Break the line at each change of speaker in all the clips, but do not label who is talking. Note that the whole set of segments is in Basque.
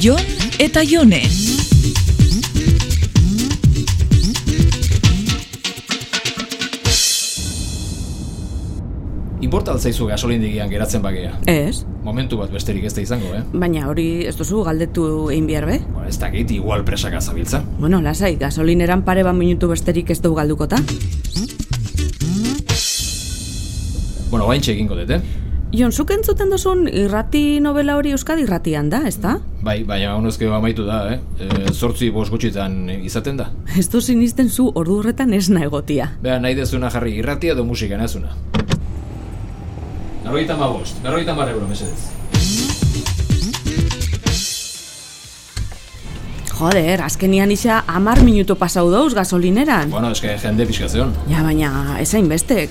Jon eta Jone.
Inporta altzaizu gasolindegian geratzen bagea.
Ez,
Momentu bat besterik ez da izango, eh?
baina hori ez duzu galdetu egin behar be?
Ba, ez dakit, igual presaka zabiltza.
Bueno, lasai, gasolineran pare bat minutu besterik ez du galduko ta?
Bueno, bain egingo dut, eh?
Jon, zuk entzuten duzun irrati novela hori Euskadi irratian da, ez da?
Bai, baina honezkeo amaitu da, eh? E, zortzi bost gutxitan izaten da.
Ez du sinisten zu ordu horretan esna egotia.
Bea, nahi dezuna jarri irratia edo musika nazuna. Berroita ma bost, berroita mar euro, mesedez.
Joder, azkenian isa amar minutu pasau dauz gasolineran.
Bueno, eske jende pixka zeon.
Ja, baina ezain beste,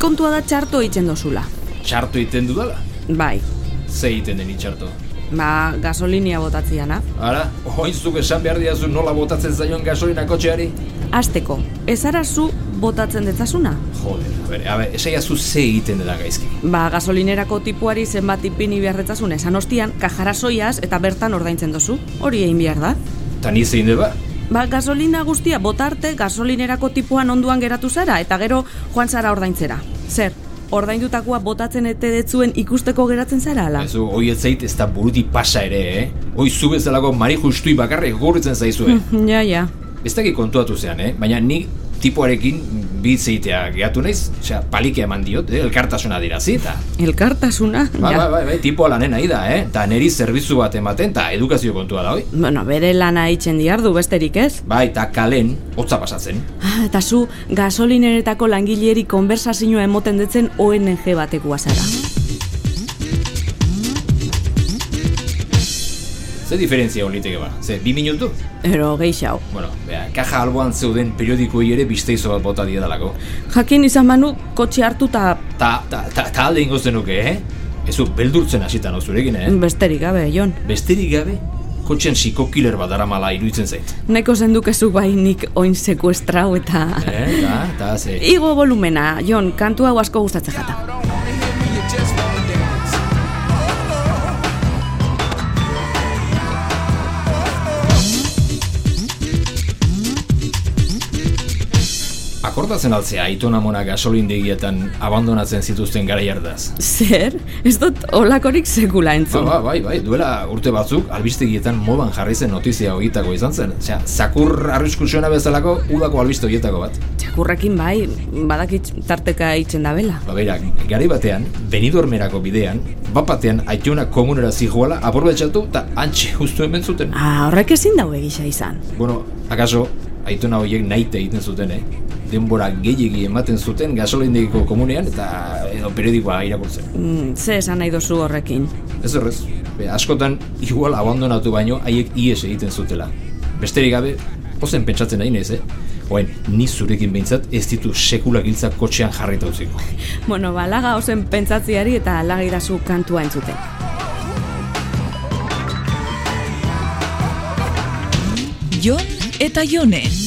kontua da txarto egiten dozula.
Txarto iten dudala?
Bai,
Ze iten den itxarto.
ba, gasolinia botatziana.
Ara, oinzuk esan behar diazu nola botatzen zaion gasolina kotxeari?
Azteko, ezara zu botatzen detzazuna?
Joder, a ber, a ber, esaiazu ze egiten dela gaizki.
Ba, gasolinerako tipuari zenbat ipini beharretzazun esan ostian, kajarasoiaz eta bertan ordaintzen dozu. Hori egin behar da.
Ta ni zein de ba?
Ba, gasolina guztia botarte gasolinerako tipuan onduan geratu zara eta gero joan zara ordaintzera. Zer, ordaindutakoa botatzen ete detzuen ikusteko geratzen zara ala?
Ez du, hoi ez zait ez da buruti pasa ere, eh? Hoi zu bezalako mari justui bakarrik gorritzen zaizu, eh?
Ja, ja.
ez dakit kontuatu zean, eh? Baina ni tipoarekin bitz egitea gehatu naiz, osea, palike eman diot, eh? elkartasuna dirazi, eta...
Elkartasuna?
Bai,
Hmm, ja.
bai, bai, bai, tipoa lanen nahi da, eh? Ta neri zerbitzu bat ematen, ta edukazio kontua da, hoi?
Bueno, bere lana itxen diardu besterik ez?
Bai, ta kalen, hotza pasatzen.
Ah, eta zu gasolineretako langileri konversazioa emoten detzen ONG batekoa zara.
Ze diferentzia hon liteke ba? Ze, bi minutu?
Ero gehiago.
Bueno, bea, kaja alboan zeuden periodikoei ere bisteizo bat bota diedalako.
Jakin izan banu kotxe hartu eta
Ta, ta, ta, ta alde ingo zenuke, eh? Ez du, beldurtzen hasitan hau zurekin, eh?
besterik gabe, Jon.
Besterik gabe, kotxen psikokiler bat daramala iruditzen zait.
Neko zendukezu bai nik oin sekuestrau eta...
Eh, ta, ta, ze...
Igo volumena, Jon, kantu hau asko gustatzen jata.
Akordatzen altzea aitona mona gasolindegietan abandonatzen zituzten gara jardaz.
Zer? Ez dut olakorik sekula
Ba,
entzun.
ba, bai, bai, duela urte batzuk albistegietan modan jarri zen notizia horietako izan zen. Osea, zakur arriskusiona bezalako udako albiste horietako bat.
Txakurrekin bai, badakit tarteka itzen da bela.
Ba, beira, gari batean, benidormerako bidean, bat batean aitona komunera zijoala aprobetsatu eta antxe justu hemen zuten.
Ah, horrek ezin dau egisa izan.
Bueno, akaso, aitona horiek naite egiten zuten, eh? denbora gehiegi ematen zuten gasolindegiko komunean eta edo periodikoa irakurtzen.
Mm, ze esan nahi dozu horrekin.
Ez horrez, be, askotan igual abandonatu baino haiek ies egiten zutela. Besterik gabe, pozen pentsatzen nahi naiz, eh? Oain, ni zurekin behintzat ez ditu sekula giltza kotxean jarrita utziko.
Bueno, balaga ozen pentsatziari eta lagai dazu kantua entzuten.
Jon eta Jone.